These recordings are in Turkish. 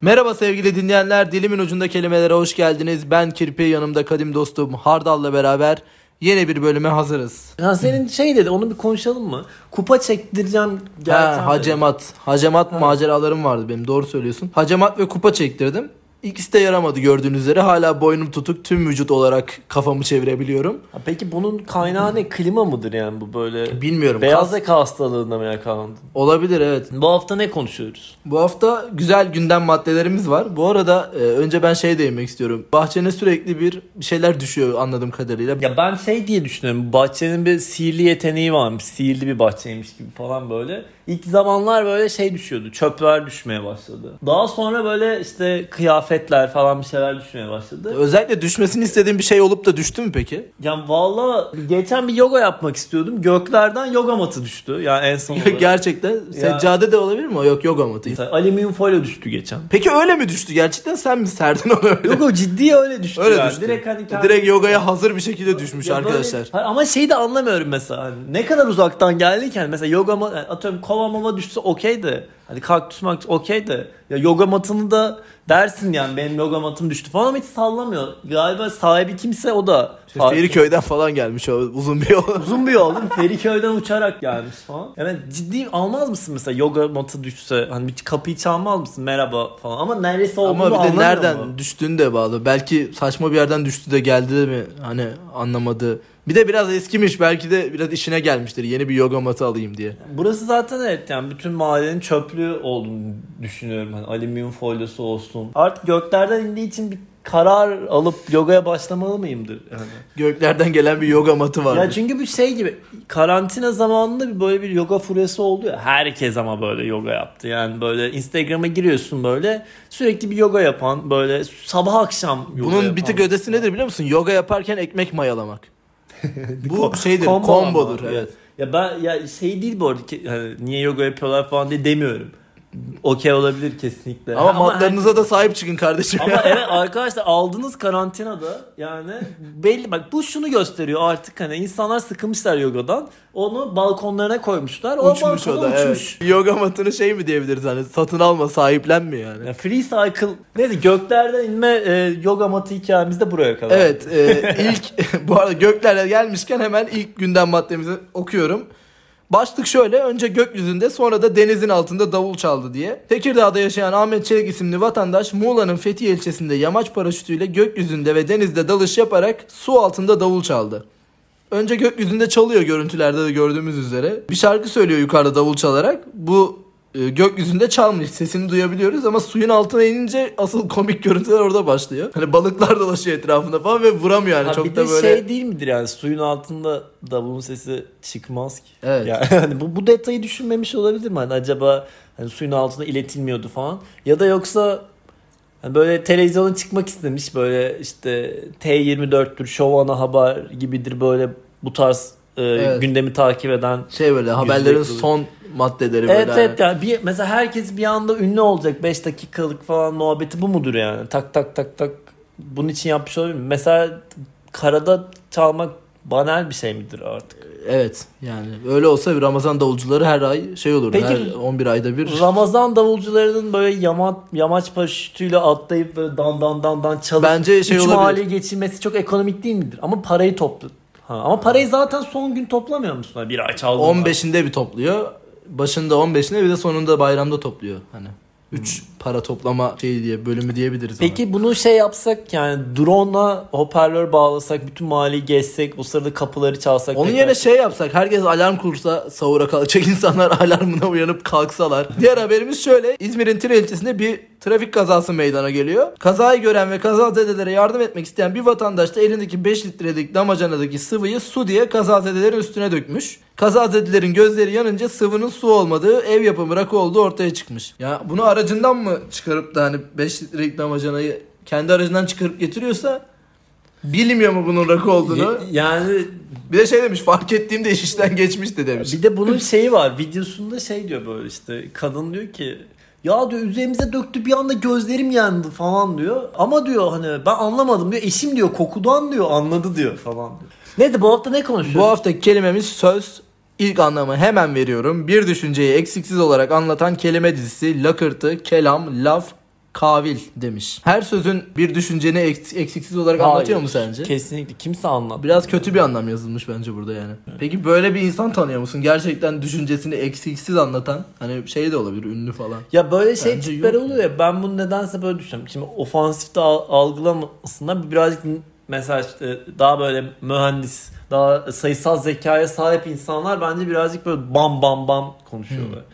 Merhaba sevgili dinleyenler, dilimin ucunda kelimelere hoş geldiniz. Ben Kirpi, yanımda kadim dostum Hardal'la beraber yeni bir bölüme hazırız. Ya senin şey dedi onu bir konuşalım mı? Kupa çektireceğim. geleceğim Ha, dedi. hacemat, hacemat maceralarım vardı benim, doğru söylüyorsun. Hacemat ve kupa çektirdim. İkisi de yaramadı gördüğünüz üzere. Hala boynum tutuk, tüm vücut olarak kafamı çevirebiliyorum. Ha, Peki bunun kaynağı ne? Klima mıdır yani bu böyle? Bilmiyorum. Beyaz kas- yaka hastalığına mı yakalandın? olabilir evet. Bu hafta ne konuşuyoruz? Bu hafta güzel gündem maddelerimiz var. Bu arada e, önce ben şey değinmek istiyorum. Bahçene sürekli bir şeyler düşüyor anladığım kadarıyla. Ya ben şey diye düşünüyorum. Bahçenin bir sihirli yeteneği varmış. Sihirli bir bahçeymiş gibi falan böyle. İlk zamanlar böyle şey düşüyordu. Çöpler düşmeye başladı. Daha sonra böyle işte kıyafetler falan bir şeyler düşmeye başladı. Özellikle düşmesini istediğim bir şey olup da düştü mü peki? Ya valla geçen bir yoga yapmak istiyordum. Göklerden yoga matı düştü. Yani en son olarak. gerçekten seccade de olabilir mi? O Yok yoga matı. Mesela alüminyum folyo düştü geçen. Peki öyle mi düştü? Gerçekten sen mi serdin onu öyle? Yok o ciddi öyle düştü. öyle yani. düştü. Direkt hani kendi- Direkt yogaya hazır bir şekilde düşmüş Ya böyle- arkadaşlar. Hayır, ama şeyi de anlamıyorum mesela. Hani ne kadar uzaktan geldi ki hani mesela yoga mat, yani atıyorum kova mava düşse okey de. Hani kaktüs maktüs okey de. Ya yoga matını da dersin yani benim yoga matım düştü falan ama hiç sallamıyor. Galiba sahibi kimse o da. fark- Feriköy'den falan gelmiş o uzun bir yol. Uzun bir yol değil mi? Feriköy'den uçarak gelmiş falan. Yani ciddi almaz mısın mesela yoga matı düşse? Hani bir kapıyı çalmaz mısın? Merhaba falan. Ama neresi olduğunu Ama bir de anlamıyor nereden mu? düştüğünü de bağlı. Belki saçma bir yerden düştü de geldi de mi hani anlamadı. Bir de biraz eskimiş belki de biraz işine gelmiştir yeni bir yoga matı alayım diye. Burası zaten evet yani bütün mahallenin çöplüğü olduğunu düşünüyorum. Hani alüminyum folyosu olsun. Artık göklerden indiği için bir karar alıp yogaya başlamalı mıyımdır yani? Göklerden gelen bir yoga matı var. Ya çünkü bir şey gibi karantina zamanında bir böyle bir yoga furyası oldu ya. Herkes ama böyle yoga yaptı. Yani böyle Instagram'a giriyorsun böyle sürekli bir yoga yapan böyle sabah akşam yoga Bunun yapan. bir tık ötesi nedir biliyor musun? Yoga yaparken ekmek mayalamak. Bu Ko- şeydir, combo kombodur. ama. Evet. Ya ben ya şey değil bu arada ki hani niye yoga yapıyorlar falan diye demiyorum. Okey olabilir kesinlikle. Ama, her- matlarınıza da sahip çıkın kardeşim. Ama ya. evet arkadaşlar aldınız karantinada yani belli bak bu şunu gösteriyor artık hani insanlar sıkılmışlar yogadan onu balkonlarına koymuşlar o uçmuş o balkona da uçmuş. evet. Yoga matını şey mi diyebiliriz hani satın alma sahiplenme yani. Ya free cycle neyse göklerden inme e, yoga matı hikayemiz de buraya kadar. Evet e, ilk bu arada göklerle gelmişken hemen ilk gündem maddemizi okuyorum. Başlık şöyle önce gökyüzünde sonra da denizin altında davul çaldı diye. Tekirdağ'da yaşayan Ahmet Çelik isimli vatandaş Muğla'nın Fethiye ilçesinde yamaç paraşütüyle gökyüzünde ve denizde dalış yaparak su altında davul çaldı. Önce gökyüzünde çalıyor görüntülerde de gördüğümüz üzere. Bir şarkı söylüyor yukarıda davul çalarak. Bu e, gökyüzünde çalmış sesini duyabiliyoruz ama suyun altına inince asıl komik görüntüler orada başlıyor. Hani balıklar dolaşıyor etrafında falan ve vuramıyor yani Ha, çok bir da de böyle. şey değil midir yani suyun altında davulun sesi çıkmaz ki. Evet. Yani, hani bu, bu detayı düşünmemiş olabilir mi? Hani acaba hani suyun altında iletilmiyordu falan. Ya da yoksa hani böyle televizyona çıkmak istemiş böyle işte T24'tür, Show Ana Haber gibidir böyle bu tarz e, Evet. gündemi takip eden Şey böyle haberlerin Yüzde- son maddeleri böyle. Evet hani. evet yani bir, mesela herkes bir anda ünlü olacak 5 dakikalık falan muhabbeti bu mudur yani? Tak tak tak tak bunun için yapmış olabilir mi? Mesela karada çalmak banal bir şey midir artık? Evet yani öyle olsa Ramazan davulcuları her ay şey olurdu. Peki- her 11 ayda bir. Ramazan davulcularının böyle yamaç, yamaç paraşütüyle atlayıp böyle dan dan dan dan çalıp Bence şey üç olabilir. mahalleyi geçirmesi çok ekonomik değil midir? Ama parayı topla. Ha, ama parayı zaten son gün toplamıyor musun? Ha, Bir ay çaldın. 15'inde bir topluyor. Başında 15'inde bir de sonunda bayramda topluyor. Hani 3 para toplama şey diye bölümü diyebiliriz. ona. Peki bunu şey yapsak yani drone'la hoparlör bağlasak bütün mahalleyi gezsek o sırada kapıları çalsak. Onun tekrar- yerine şey yapsak herkes alarm kursa sahura kalacak insanlar alarmına uyanıp kalksalar. Diğer haberimiz şöyle İzmir'in Tire ilçesinde bir trafik kazası meydana geliyor. Kazayı gören ve kazazedelere yardım etmek isteyen bir vatandaş da elindeki 5 litrelik damacanadaki sıvıyı su diye kazazedelerin üstüne dökmüş. Kazazedelerin gözleri yanınca sıvının su olmadığı ev yapımı rakı olduğu ortaya çıkmış. Ya bunu aracından mı çıkarıp da hani 5 litrelik damacanayı kendi aracından çıkarıp getiriyorsa bilmiyor mu bunun rakı olduğunu? Y- Yani Bir de şey demiş fark ettiğimde iş işten geçmişti demiş. bir de bunun şeyi var videosunda şey diyor böyle işte kadın diyor ki ya diyor üzerimize döktü bir anda gözlerim yandı falan diyor. Ama diyor hani ben anlamadım diyor. Eşim diyor kokudan diyor anladı diyor falan diyor. Neyse bu hafta ne konuşuyoruz? Bu haftaki kelimemiz söz. İlk anlamı hemen veriyorum. Bir düşünceyi eksiksiz olarak anlatan kelime dizisi, lakırtı, kelam, laf, Kavil demiş. Her sözün bir düşünceni eks- eksiksiz olarak anlatıyor mu Hayır. sence? Kesinlikle kimse anlatmıyor. Biraz kötü bir anlam yazılmış bence burada yani. Peki böyle bir insan tanıyor musun? Gerçekten düşüncesini eksiksiz anlatan. Hani şey de olabilir ünlü falan. Ya böyle şey Bence tipler yok. oluyor ya ben bunu nedense böyle düşünüyorum. Şimdi ofansif de al- algılamasından birazcık mesela işte daha böyle mühendis, daha sayısal zekaya sahip insanlar bence birazcık böyle bam bam bam konuşuyorlar.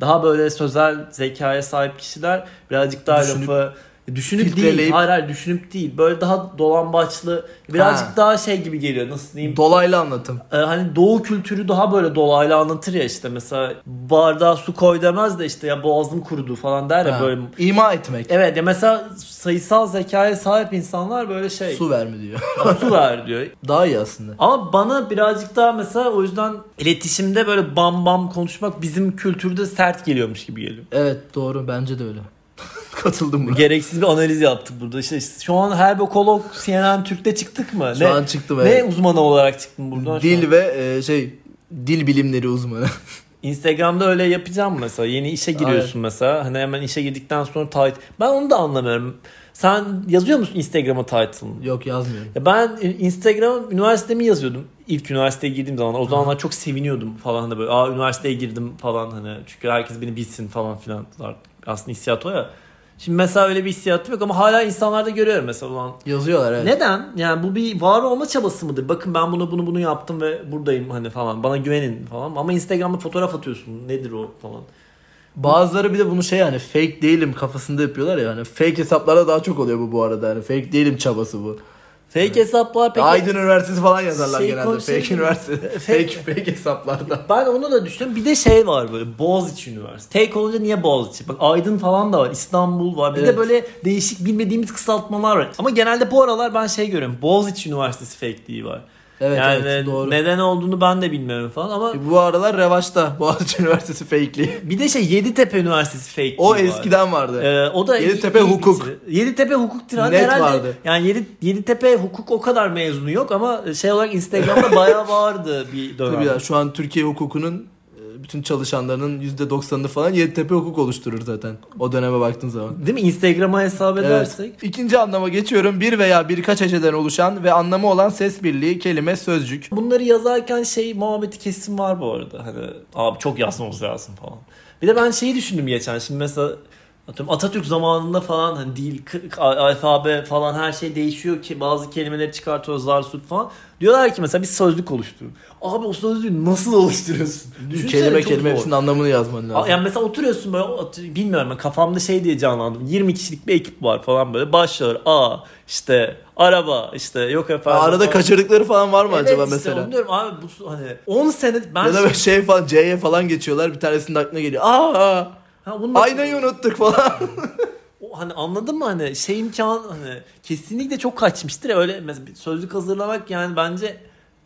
Daha böyle sözel zekaya sahip kişiler birazcık daha Düşünüp- lafı e, düşünüp değil. filtreleyip- Hayır hayır düşünüp değil. Böyle daha dolambaçlı birazcık Ha. daha şey gibi geliyor nasıl diyeyim. Dolaylı anlatım. Ee, hani doğu kültürü daha böyle dolaylı anlatır ya işte mesela bardağa su koy demez de işte ya boğazım kurudu falan der ya Ha, böyle. İma etmek. Evet ya mesela sayısal zekaya sahip insanlar böyle şey su, Su verme diyor. su ver diyor. Daha iyi aslında. Ama bana birazcık daha mesela o yüzden iletişimde böyle bam bam konuşmak bizim kültürde sert geliyormuş gibi geliyor. Evet doğru bence de öyle. Katıldım buna. Gereksiz bir analiz yaptık burada. İşte şu an herbekolog CNN Türk'te çıktık mı? Şu an çıktım ne evet. uzmanı olarak çıktım buradan? şu an? Dil ve e, şey dil bilimleri uzmanı. Instagram'da öyle yapacağım mesela. Yeni işe giriyorsun mesela. Hani hemen işe girdikten sonra title. Ben onu da anlamıyorum. Sen yazıyor musun Instagram'a title'ını? Yok yazmıyorum. Ya ben Instagram üniversitemi yazıyordum. İlk üniversiteye girdiğim zaman o zamanlar çok seviniyordum falan da böyle. Aa üniversiteye girdim falan hani. Çünkü herkes beni bilsin falan filan. Aslında hissiyat o ya. Şimdi mesela öyle bir hissiyatım yok ama hala insanlarda görüyorum mesela. Ulan Yazıyorlar evet. neden? Yani bu bir var olma çabası mıdır? Bakın ben bunu bunu bunu yaptım ve buradayım hani falan. Bana güvenin falan. Ama Instagram'da fotoğraf atıyorsun. Nedir o falan. Bazıları bir de bunu şey yani fake değilim kafasında yapıyorlar ya. Hani fake hesaplarda daha çok oluyor bu bu arada. Hani fake değilim çabası bu. Fake hesaplar peki. Aydın Üniversitesi falan yazarlar Şey genelde. kon- şey fake mi? üniversite. Fake- Fake, fake hesaplarda. Ben onu da düşünüyorum. Bir de şey var böyle Boğaziçi Üniversitesi. Tek olunca niye Boğaziçi? Bak Aydın falan da var. İstanbul var. Bir de Evet. böyle değişik bilmediğimiz kısaltmalar var. Ama genelde bu aralar ben şey görüyorum. Boğaziçi Üniversitesi fakeliği var. Evet yani evet doğru. E, neden olduğunu ben de bilmiyorum falan ama Bu aralar revaçta Boğaziçi Üniversitesi fake'li. bir de şey Yeditepe Üniversitesi fakeliği O var. eskiden vardı. Ee, o da Yeditepe iyi- iyi hukuk. bitiri. Yeditepe hukuk tiranı Net herhalde. vardı. Yani Yedi, Yeditepe hukuk o kadar mezunu yok ama şey olarak Instagram'da bayağı vardı bir dönem. Tabii ya şu an Türkiye hukukunun e, bütün çalışanlarının %90'ını falan Yeditepe hukuk oluşturur zaten. O döneme baktığın zaman. Değil mi? Instagram'a hesap edersek. Evet. İkinci anlama geçiyorum. Bir veya birkaç heceden oluşan ve anlamı olan ses birliği, kelime, sözcük. Bunları yazarken şey muhabbeti kesin var bu arada. Hani abi çok yazmamız lazım falan. Bir de ben şeyi düşündüm geçen. Şimdi mesela atıyorum Atatürk zamanında falan hani dil, k- k- alfabe falan her şey değişiyor ki bazı kelimeleri çıkartıyoruz zar tut falan. Diyorlar ki mesela bir sözlük oluşturun. Abi o sözlüğü nasıl oluşturuyorsun? Düşünsene kelime çok kelime zor. hepsinin anlamını yazman A- lazım. Yani mesela oturuyorsun böyle at- bilmiyorum ben kafamda şey diye canlandım. 20 kişilik bir ekip var falan böyle. Başlıyor. A işte araba işte yok efendim. Arada falan. kaçırdıkları falan var mı Evet acaba işte mesela? onu diyorum abi bu su- hani 10 sene ben Ya da böyle şey falan C'ye falan geçiyorlar. Bir tanesinin aklına geliyor. Aa! ha, bunu da- Aynayı unuttuk falan. O hani anladın mı hani şey imkan hani kesinlikle çok kaçmıştır ya öyle mesela bir sözlük hazırlamak yani bence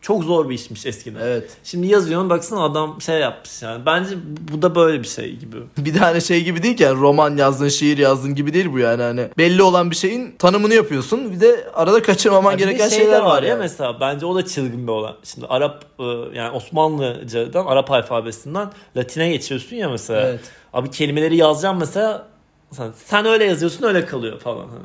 çok zor bir işmiş eskiden. evet. Şimdi yazıyorsun baksana adam şey yapmış yani. Bence bu da böyle bir şey gibi. Bir tane şey gibi değil ki yani roman yazdın, şiir yazdın gibi değil bu yani hani. Belli olan bir şeyin tanımını yapıyorsun. Bir de arada kaçırmaman Yani bir de gereken şey de şeyler var ya ya. mesela bence o da çılgın bir olan. Şimdi Arap e, yani Osmanlıcadan Arap alfabesinden Latine geçiyorsun ya mesela. Evet. Abi kelimeleri yazacağım mesela sen, sen öyle yazıyorsun öyle kalıyor falan hani.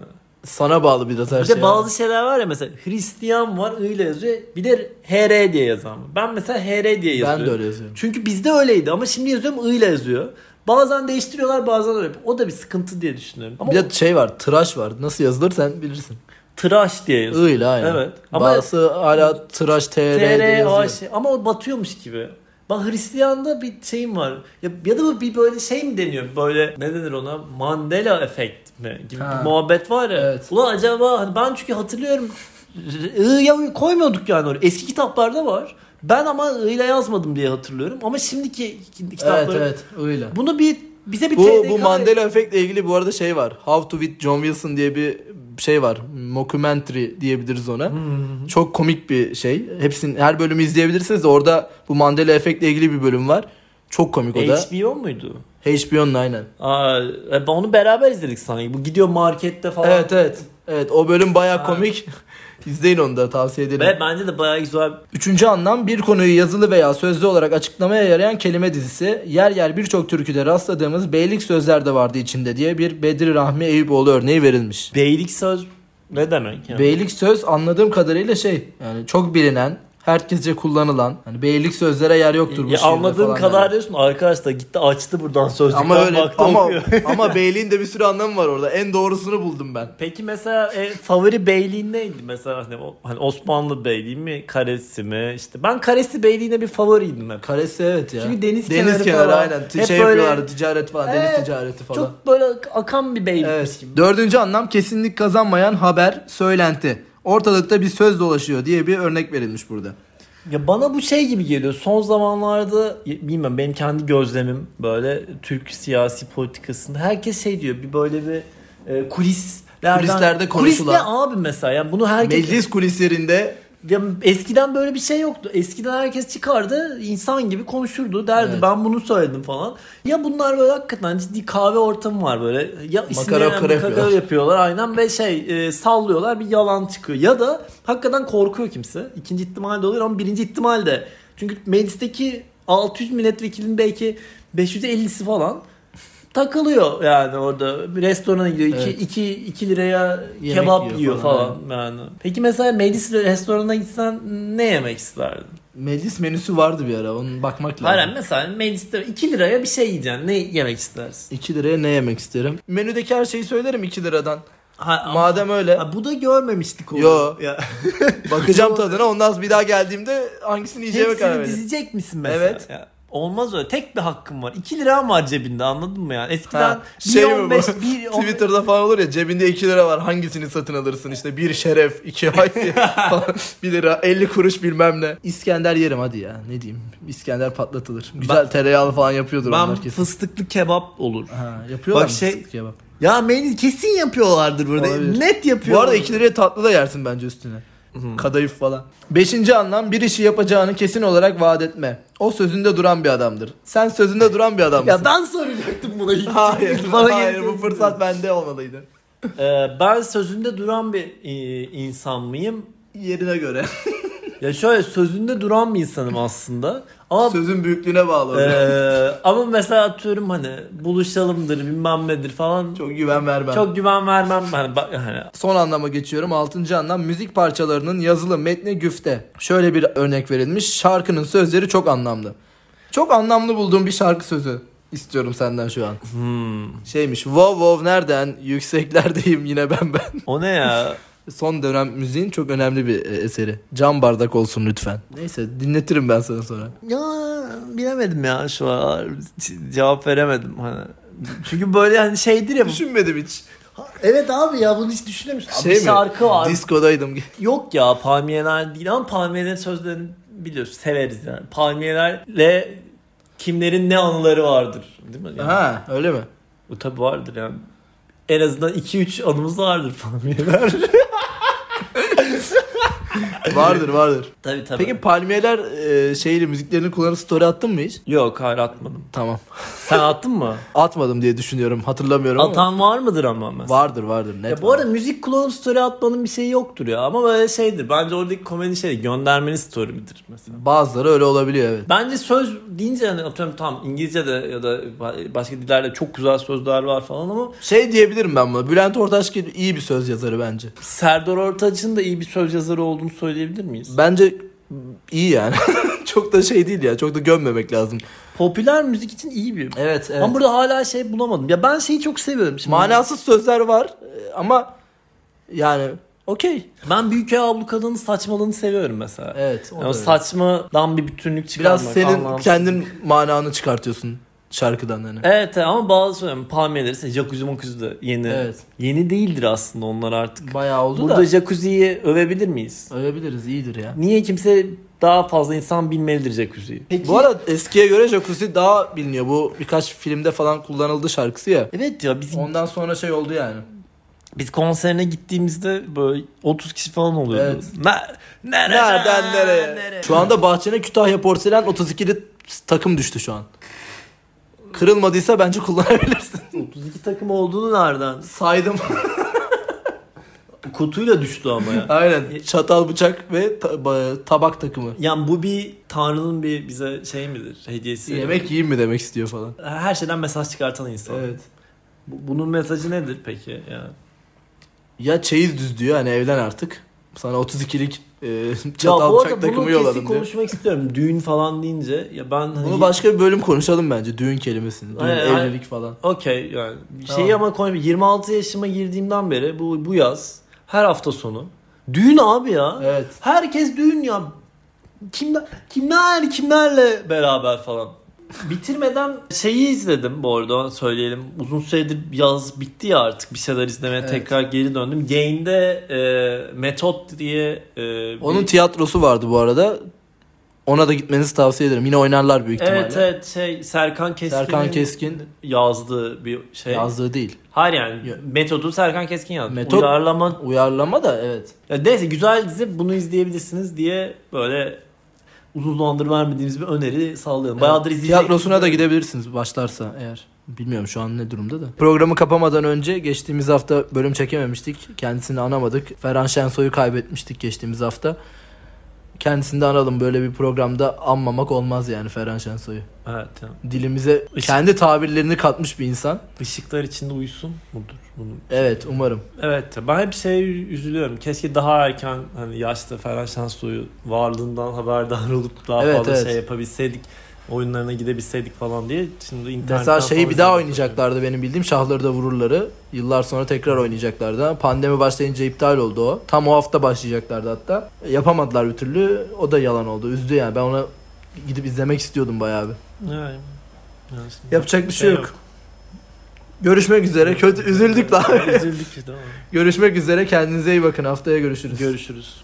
Sana bağlı biraz her Bir de şey. bazı şeyler var ya mesela Hristiyan var I ile yazıyor. Bir de HR diye yazan var. Ben mesela HR diye yazıyorum. Ben de öyle yazıyorum. Çünkü bizde öyleydi ama şimdi yazıyorum I ile yazıyor. Bazen değiştiriyorlar bazen öyle. O da bir sıkıntı diye düşünüyorum. Ama Bir de şey var, tıraş var. Nasıl yazılır sen bilirsin. tıraş diye yazıyor. I'yle aynen. Evet. Ama- Bazısı hala tıraş TR diye TR, yazıyor. AŞ. Ama o şey, batıyormuş gibi. Bak Hristiyan'da bir şeyim var. Ya, ya da bu bir böyle şey mi deniyor? Böyle ne denir ona? Mandela efekt mi? Gibi Ha. bir muhabbet var ya. Evet. Ulan acaba hani ben çünkü hatırlıyorum. I'ya koymuyorduk yani oraya. Eski kitaplarda var. Ben ama I'yla yazmadım diye hatırlıyorum. Ama şimdiki Evet kitapları. evet I'yle. Bunu bir bize bir Bu, TDK bu Mandela efektle ilgili bu arada şey var. How to with John Wilson diye bir şey var. Mockumentary diyebiliriz ona. Çok komik bir şey. Hepsini her bölümü izleyebilirsiniz. de Orada bu Mandela efektle ilgili bir bölüm var. Çok komik o da. HBO muydu? HBO'nun aynen. Aa, e, ben onu beraber izledik sanki. Bu gidiyor markette falan. Evet evet. Evet o bölüm baya Ha. komik. İzleyin onu da tavsiye ederim. Ve bence de bayağı güzel Üçüncü anlam bir konuyu yazılı veya sözlü olarak açıklamaya yarayan kelime dizisi. Yer yer birçok türküde rastladığımız beylik sözler de vardı içinde diye bir Bedri Rahmi Eyüboğlu örneği verilmiş. beylik söz ne demek yani? Beylik söz anladığım kadarıyla şey yani çok bilinen herkesce kullanılan hani beylik sözlere yer yoktur bu ya şiirde anladığım falan kadar yani. diyorsun arkadaş da gitti açtı buradan sözlükten ama öyle baktı ama okuyor. ama beyliğin de bir sürü anlamı var orada. En doğrusunu buldum ben. Peki mesela e, favori beyliğin neydi? Mesela hani, o- hani Osmanlı beyliği mi, karesi mi? İşte ben karesi beyliğine bir favoriydim hep. Karesi evet ya. Çünkü deniz kenarı kenarı falan. aynen. T- Hep şey böyle- yapıyorlardı ticaret falan deniz Evet, ticareti falan. Ee, Çok böyle akan bir beylikmiş Evet. gibi. Dördüncü anlam kesinlik kazanmayan haber, söylenti. Ortalıkta bir söz dolaşıyor diye bir örnek verilmiş burada. Ya bana bu şey gibi geliyor. Son zamanlarda bilmem benim kendi gözlemim böyle Türk siyasi politikasında herkes şey diyor. Bir böyle bir e, kulislerden Kulislerde konuşulan. Kulis ne abi mesela? Yani bunu herkes Meclis kulislerinde Ya eskiden böyle bir şey yoktu. Eskiden herkes çıkardı, insan gibi konuşurdu, derdi Evet. ben bunu söyledim falan. Ya bunlar böyle hakikaten ciddi kahve ortamı var böyle. Ya Makara makara krep makara ya. yapıyorlar aynen ve şey e, sallıyorlar bir yalan çıkıyor. Ya da hakikaten korkuyor kimse. İkinci ihtimal de oluyor ama birinci ihtimal de. Çünkü meclisteki 600 milletvekilinin belki 550'si falan takılıyor yani orada bir restorana gidiyor 2 Evet. 2 2 liraya Yemek kebap yiyor yiyor, falan, falan yani. Peki mesela meclis restoranına gitsen ne yemek isterdin? meclis menüsü vardı bir ara. Onun bakmak lazım. Aynen mesela mecliste 2 liraya bir şey yiyeceksin. Ne yemek istersin? 2 liraya ne yemek isterim? Menüdeki her şeyi söylerim 2 liradan. Ha, ama- Madem öyle Ha, bu da görmemiştik onu. Yo. Ya. bakacağım tadına ondan sonra bir daha geldiğimde hangisini yiyeceğime karar Hepsini veririm. dizecek misin mesela? şey Evet. Ya, Olmaz öyle. Tek bir hakkım var. 2 liram var cebinde anladın mı yani? Eskiden Ha, şey mi bu? 1.15 1 Twitter'da falan olur ya cebinde 2 lira var hangisini satın alırsın işte bir şeref iki haysiyet falan 1 lira 50 kuruş bilmem ne. İskender yerim hadi ya ne diyeyim İskender patlatılır. Güzel tereyağlı falan yapıyordur Ben onlar kesin. fıstıklı kebap olur. Ha, yapıyorlar Bak mı şey- fıstık kebap? Ya meclis kesin yapıyorlardır burada. Olabilir. Net yapıyor. Bu arada 2 liraya tatlı da yersin bence üstüne. Kadayıf falan. Beşinci anlam bir işi yapacağını kesin olarak vaat etme. O sözünde duran bir adamdır. Sen sözünde duran bir adamsın. Ya ben soracaktım buna hiç. Hayır, Bana hayır gerek bu yok. fırsat bende olmalıydı. Ee, ben sözünde duran bir e, insan mıyım? Yerine göre. Ya şöyle sözünde duran bir insanım aslında. Ama Sözün büyüklüğüne bağlı. e, ama mesela atıyorum hani buluşalımdır bilmem nedir falan. Çok, Çok güven vermem. güven vermem. Hani, bak- hani Son anlama geçiyorum. Altıncı anlam müzik parçalarının yazılı metni güfte. Şöyle bir örnek verilmiş. Şarkının sözleri çok anlamlı. Çok anlamlı bulduğum bir şarkı sözü istiyorum senden şu an. hmm, Şeymiş. Wow wow nereden? Yükseklerdeyim yine ben ben. o ne ya? Son dönem müziğin çok önemli bir e, eseri. Cam bardak olsun lütfen. Neyse dinletirim ben sana sonra. ya bilemedim ya şu an. Ce- Cevap veremedim hani. Çünkü böyle hani şeydir ya. bu- Düşünmedim hiç. Şey evet abi ya bunu hiç düşünmemiştim. Abi bir şarkı var. Diskodaydım. Yok ya palmiyeler değil ama palmiyelerin sözlerini biliyoruz severiz yani. Palmiyelerle kimlerin ne anıları vardır değil mi? Yani, ha öyle mi? bu tabi vardır yani. En azından 2-3 anımız vardır palmiyeler. Vardır vardır. tabi tabi. Peki palmiyeler e, şeyli müziklerini kullanıp story attın mı hiç? Yok hayır atmadım. Tamam. Sen attın mı? Atmadım diye düşünüyorum. Hatırlamıyorum ama. Atan var mıdır ama mesela? Vardır vardır net. Ya bu arada müzik kullanıp story atmanın bir şeyi yoktur ya ama böyle şeydir. Bence oradaki komedi şey göndermeni story midir mesela? Bazıları öyle olabiliyor evet. Bence söz deyince hani atıyorum tam İngilizce'de ya da ba- başka dillerde çok güzel sözler var falan ama Şey diyebilirim ben buna. Bülent Ortaçgil iyi bir söz yazarı bence. Serdar Ortaç'ın da iyi bir söz yazarı olduğunu söyleyebilir miyiz? Bence iyi yani. çok da şey değil ya. Çok da gömmemek lazım. Popüler müzik için iyi bir. Evet Ama burada hala şey bulamadım. Ya ben şeyi çok seviyorum şimdi. Manasız sözler var e, ama yani okey. Ben Büyük Ev Abluka'nın saçmalığını seviyorum mesela. Evet. o Yani da o öyle. saçmadan bir bütünlük çıkarmak. Biraz senin anlamsız. kendin mananı çıkartıyorsun şarkıdan hani. Evet evet, ama bazı söylüyorum. Palmiyeleri, işte jacuzzi makuzzi de yeni. Evet. Yeni değildir aslında onlar artık. Bayağı oldu Burada da. jacuzziyi övebilir miyiz? Övebiliriz iyidir ya. Niye kimse daha fazla insan bilmelidir jacuzziyi? Peki. Bu arada eskiye göre jacuzzi daha biliniyor. Bu birkaç filmde falan kullanıldı şarkısı ya. Evet ya biz Ondan sonra şey oldu yani. Biz konserine gittiğimizde böyle 30 kişi falan oluyordu. Evet. Ne, nereden, Nereden nereye? Şu anda bahçene Kütahya porselen 32'li takım düştü şu an. Kırılmadıysa bence kullanabilirsin. 32 takım olduğunu nereden? Saydım. kutuyla düştü ama ya. Aynen. Çatal bıçak ve ta- ba- tabak takımı. Yani bu bir Tanrı'nın bir bize şey midir? Hediyesi. Yemek yiyeyim mi demek istiyor falan. Her şeyden mesaj çıkartan insan. Evet. Bu- Bunun mesajı nedir peki? Yani. Ya çeyiz düz diyor hani evden artık. Sana 32'lik e, Ya çatal bu bıçak arada bunu takımı kesin yolladım diyor. konuşmak istiyorum. Düğün falan deyince ya ben hani Bunu başka bir bölüm konuşalım bence. Düğün kelimesini. Düğün, Aynen, aynen. evlilik falan. Okey yani Tamam. şeyi ama koyayım 26 yaşıma girdiğimden beri bu bu yaz her hafta sonu düğün abi ya. Evet. Herkes düğün ya. Kimler kimler kimlerle beraber falan. Bitirmeden şeyi izledim bu arada söyleyelim. Uzun süredir yaz bitti ya artık bir şeyler izlemeye Evet. tekrar geri döndüm. Gain'de e, Metot diye e, bir- Onun tiyatrosu vardı bu arada. Ona da gitmenizi tavsiye ederim. Yine oynarlar büyük ihtimalle. Evet evet şey Serkan Keskin. Serkan Keskin yazdığı bir şey. yazdığı değil. Hayır yani Yok. metodu Serkan Keskin yazdı. Metot- Uyarlama. Uyarlama da evet. Ya neyse güzel dizi bunu izleyebilirsiniz diye böyle uzun zamandır vermediğimiz bir öneri sallıyorum. Bayağıdır izleyecek. Tiyatrosuna da gidebilirsiniz başlarsa eğer. Bilmiyorum şu an ne durumda da. Programı kapamadan önce geçtiğimiz hafta bölüm çekememiştik. Kendisini anamadık. Ferhan Şensoy'u kaybetmiştik geçtiğimiz hafta. Kendisini de analım. Böyle bir programda anmamak olmaz yani Ferhan Şensoy'u. Evet tamam. Dilimize Işık- kendi tabirlerini katmış bir insan. Işıklar içinde uyusun mudur? Bunu. Evet umarım. Evet ben hep şey üzülüyorum. Keşke daha erken hani yaşta Ferhan Şensoy'u varlığından haberdar olup daha Evet, fazla evet. şey yapabilseydik. Oyunlarına gidebilseydik falan diye. Şimdi internetten Mesela şeyi falan şey bir daha izlemek oynayacaklardı benim bildiğim. Şahları da vururları. Yıllar sonra tekrar oynayacaklardı. ama Pandemi başlayınca iptal oldu o. Tam o hafta başlayacaklardı hatta. Yapamadılar bir türlü. O da yalan oldu. Üzdü yani. Ben ona gidip izlemek istiyordum bayağı bir. Yani, yani şimdi- Yapacak bir şey yok. Görüşmek üzere. Kötü üzüldük lan. Üzüldük işte ama. Görüşmek üzere. Kendinize iyi bakın. Haftaya görüşürüz. Görüşürüz.